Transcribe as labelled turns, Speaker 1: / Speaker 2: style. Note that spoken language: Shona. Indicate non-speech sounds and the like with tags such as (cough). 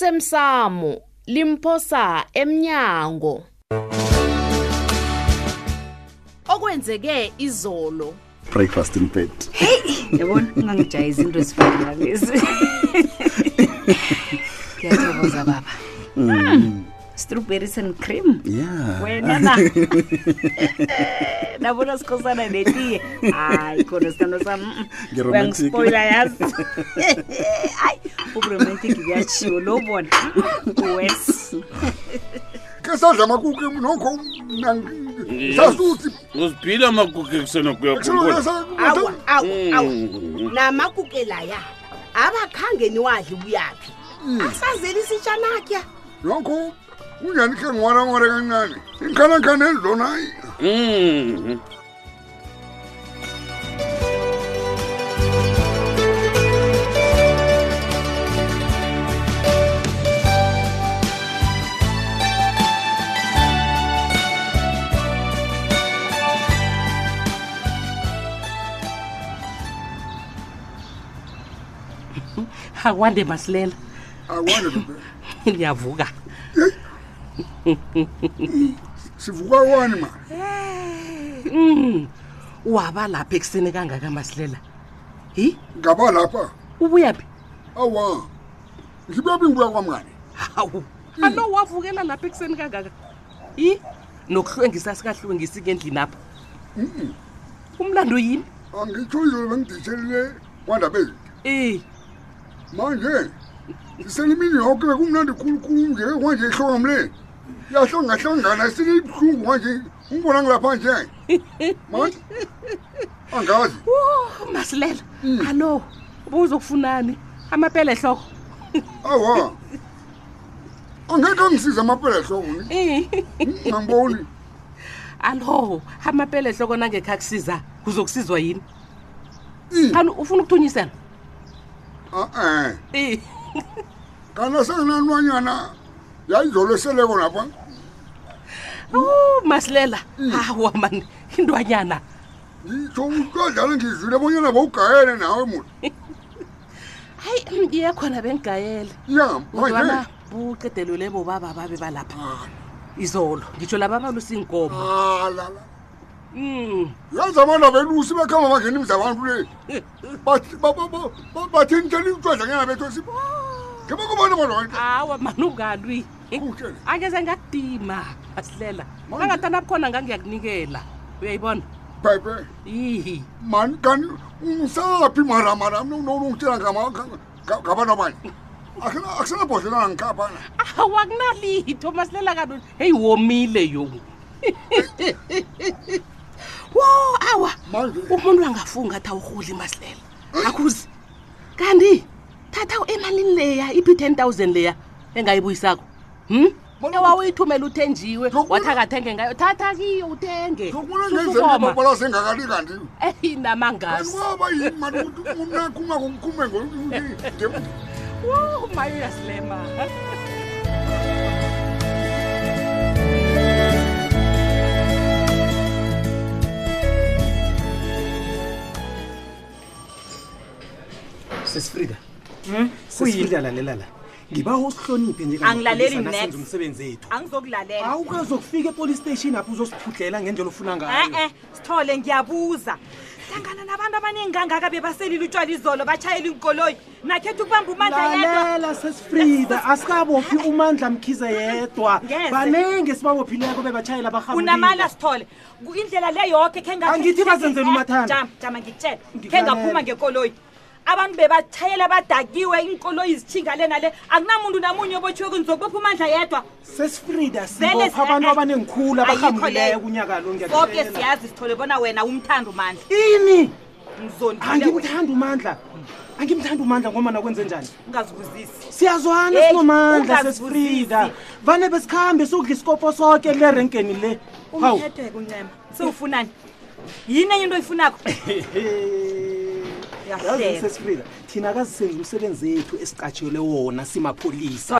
Speaker 1: osemsamo limphosa emnyango okwenzeke izolo
Speaker 2: breakfast in bed
Speaker 3: yabona ungangijayiza into ezifana nalezi ngiyathokoza baba strawberries and cream
Speaker 2: yeah
Speaker 3: wena na nabona sikhosana netiye hayi khona sithando sam mm, mm.
Speaker 2: Ngi-romantic.
Speaker 3: uyangispoila yazi hayi uburomantic kuyatshiwo lo bona wes
Speaker 4: ke sadla amakuku nokho sasuthi
Speaker 5: uziphila amagugu ekusena kuyakhumbula
Speaker 6: awa awa awa namakukela ya abakhange niwadli kuyaphi asazeli isitshanakya
Speaker 4: nokho unyani khe ngiwara-ngwara kancane inkanankane ezona
Speaker 5: Mhm.
Speaker 7: akwande masilela
Speaker 4: akwande bebe
Speaker 7: ndiyavuka
Speaker 4: sivuka wani ma
Speaker 7: Mm. waba lapha ekuseni kangaka masilela hi
Speaker 4: ngaba lapha
Speaker 7: ubuya phi
Speaker 4: awa ngibebi ngibuya kwamngane
Speaker 7: hawu alo wavukela lapha ekuseni kangaka hi nokuhlwengisa sikahlwengisike endlini apha Hmm. umlando yini
Speaker 4: angitsho izolo bengiditshelile kwandaba ezinto
Speaker 7: Eh,
Speaker 4: manje siselimini yoke kumnandi khulukhulu nje kwanje ihloko mle yahlangahlangana silibuhlungu kwanje ungibona ngilapha nje manje angazi
Speaker 7: wo masilela alo buzokufunani amapele ehloko
Speaker 4: awa angeke angisize amapela ehlokoni
Speaker 7: Eh,
Speaker 4: Hmm, angiboni
Speaker 7: alo amapele ehloko nangekho akusiza uzokusizwa yini
Speaker 4: Mm.
Speaker 7: kanti ufuna ukuthunyisela
Speaker 4: a-e
Speaker 7: Eh,
Speaker 4: Ah, kana senginanwanyana yayizolo eseleko lapha
Speaker 7: awu, Oh, masilela hawa mani intwanyana
Speaker 4: ngitsho utwadlala ngizwile bonyana bowugayele nawe mona
Speaker 7: hayi mm, iye khona bengigayele
Speaker 4: ya manje
Speaker 7: kodwana buqedelwele bobaba babe balapha izolo ngitsho laba
Speaker 4: Ah.
Speaker 7: Mm. balusinkomo
Speaker 4: alala yazi abantu abelusi bakhamba bangena imizi abantu le bathintela utwadlanyana bethu si ngebakubona bona
Speaker 7: hawa mani ungalwi
Speaker 4: Kutshele.
Speaker 7: angeze ngakudima asilela
Speaker 4: Manje.
Speaker 7: angathanda bukhona ngangiyakunikela uyayibona
Speaker 4: bhebhe
Speaker 7: ihi
Speaker 4: mani kanti umsaphi maramara nongitshela ngabantu abanye akusenabhodlelana ngikhapana
Speaker 7: hawa kunalitho masilela kanoni heyi womile yo (laughs) wo awa
Speaker 4: Manje.
Speaker 7: umuntu angafunga athi awurhudli masilela akuzi kanti thatha emalini leya iphi 10 000 leya engayibuyisakho hm
Speaker 4: Bona-
Speaker 7: ewawuyithumela uthenjiwe
Speaker 4: Lokhu-
Speaker 7: wathi akathenge ngayo thatha kiyo uthenge
Speaker 4: lokubona
Speaker 7: Susukoma.
Speaker 4: ngezenibabala sengakali kanti
Speaker 7: eyi namangazi
Speaker 4: kanibaba yini mani unakungakumkhume ngokuthi
Speaker 7: wo mayo uyasilema
Speaker 8: sesifrida sesifrida lalela la ngiba usihloniphe nje
Speaker 3: Angilaleli
Speaker 8: kamapolisa nasenza
Speaker 3: next.
Speaker 8: umsebenzi wethu
Speaker 3: angizokulalela
Speaker 8: awukazokufika epolice station apho uzosiphudlela ngendlela ofuna ngayo
Speaker 3: e-e sithole ngiyabuza hlangana nabantu abaningi kangaka bebaselile utshwala izolo batshayela inkoloyi nakhetha ukubamba umandla yedwa
Speaker 8: lalela sesifrida asikabophi umandla mkhize yedwa
Speaker 3: Ngeze.
Speaker 8: banenge sibabophileko bebatshayela
Speaker 3: unamala sithole Ku- indlela le yoke khe nga-
Speaker 8: Angithi bazenzele umathanda.
Speaker 3: Eh, jama jama ngikutshela khe
Speaker 8: Ngikulalela.
Speaker 3: ngaphuma ngekoloyi abantu bebatshayela badakiwe iinkoloyi zitshinga le nale akunamuntu namunye obotshiwe kunizokubopha umandla yedwa
Speaker 8: sesifrida
Speaker 3: Vele
Speaker 8: sibopha abantu
Speaker 3: eh, eh.
Speaker 8: abanengikhulu
Speaker 3: Ayikho
Speaker 8: abahamulileyo
Speaker 3: leyo.
Speaker 8: kunyaka lo
Speaker 3: soke
Speaker 8: ngiyakutshela.
Speaker 3: siyazi sithole bona wena umthanda umandla
Speaker 8: ini
Speaker 3: ngizondile wena
Speaker 8: angimthanda umandla angimthanda umandla ngoma nakwenze njani
Speaker 3: ungazibuzisi
Speaker 8: siyazwana
Speaker 3: Hey,
Speaker 8: sinomandla
Speaker 3: ungazibuzisi.
Speaker 8: sesifrida Ah. vane besikhambe sokudla isikopho soke le renkeni le hawu
Speaker 3: umthetheke uncema sewufunani yini enye into oyifunakho Uyahlela.
Speaker 8: sesifrida thina kazisenza umsebenzi ethu esicatshelwe wona simapholisa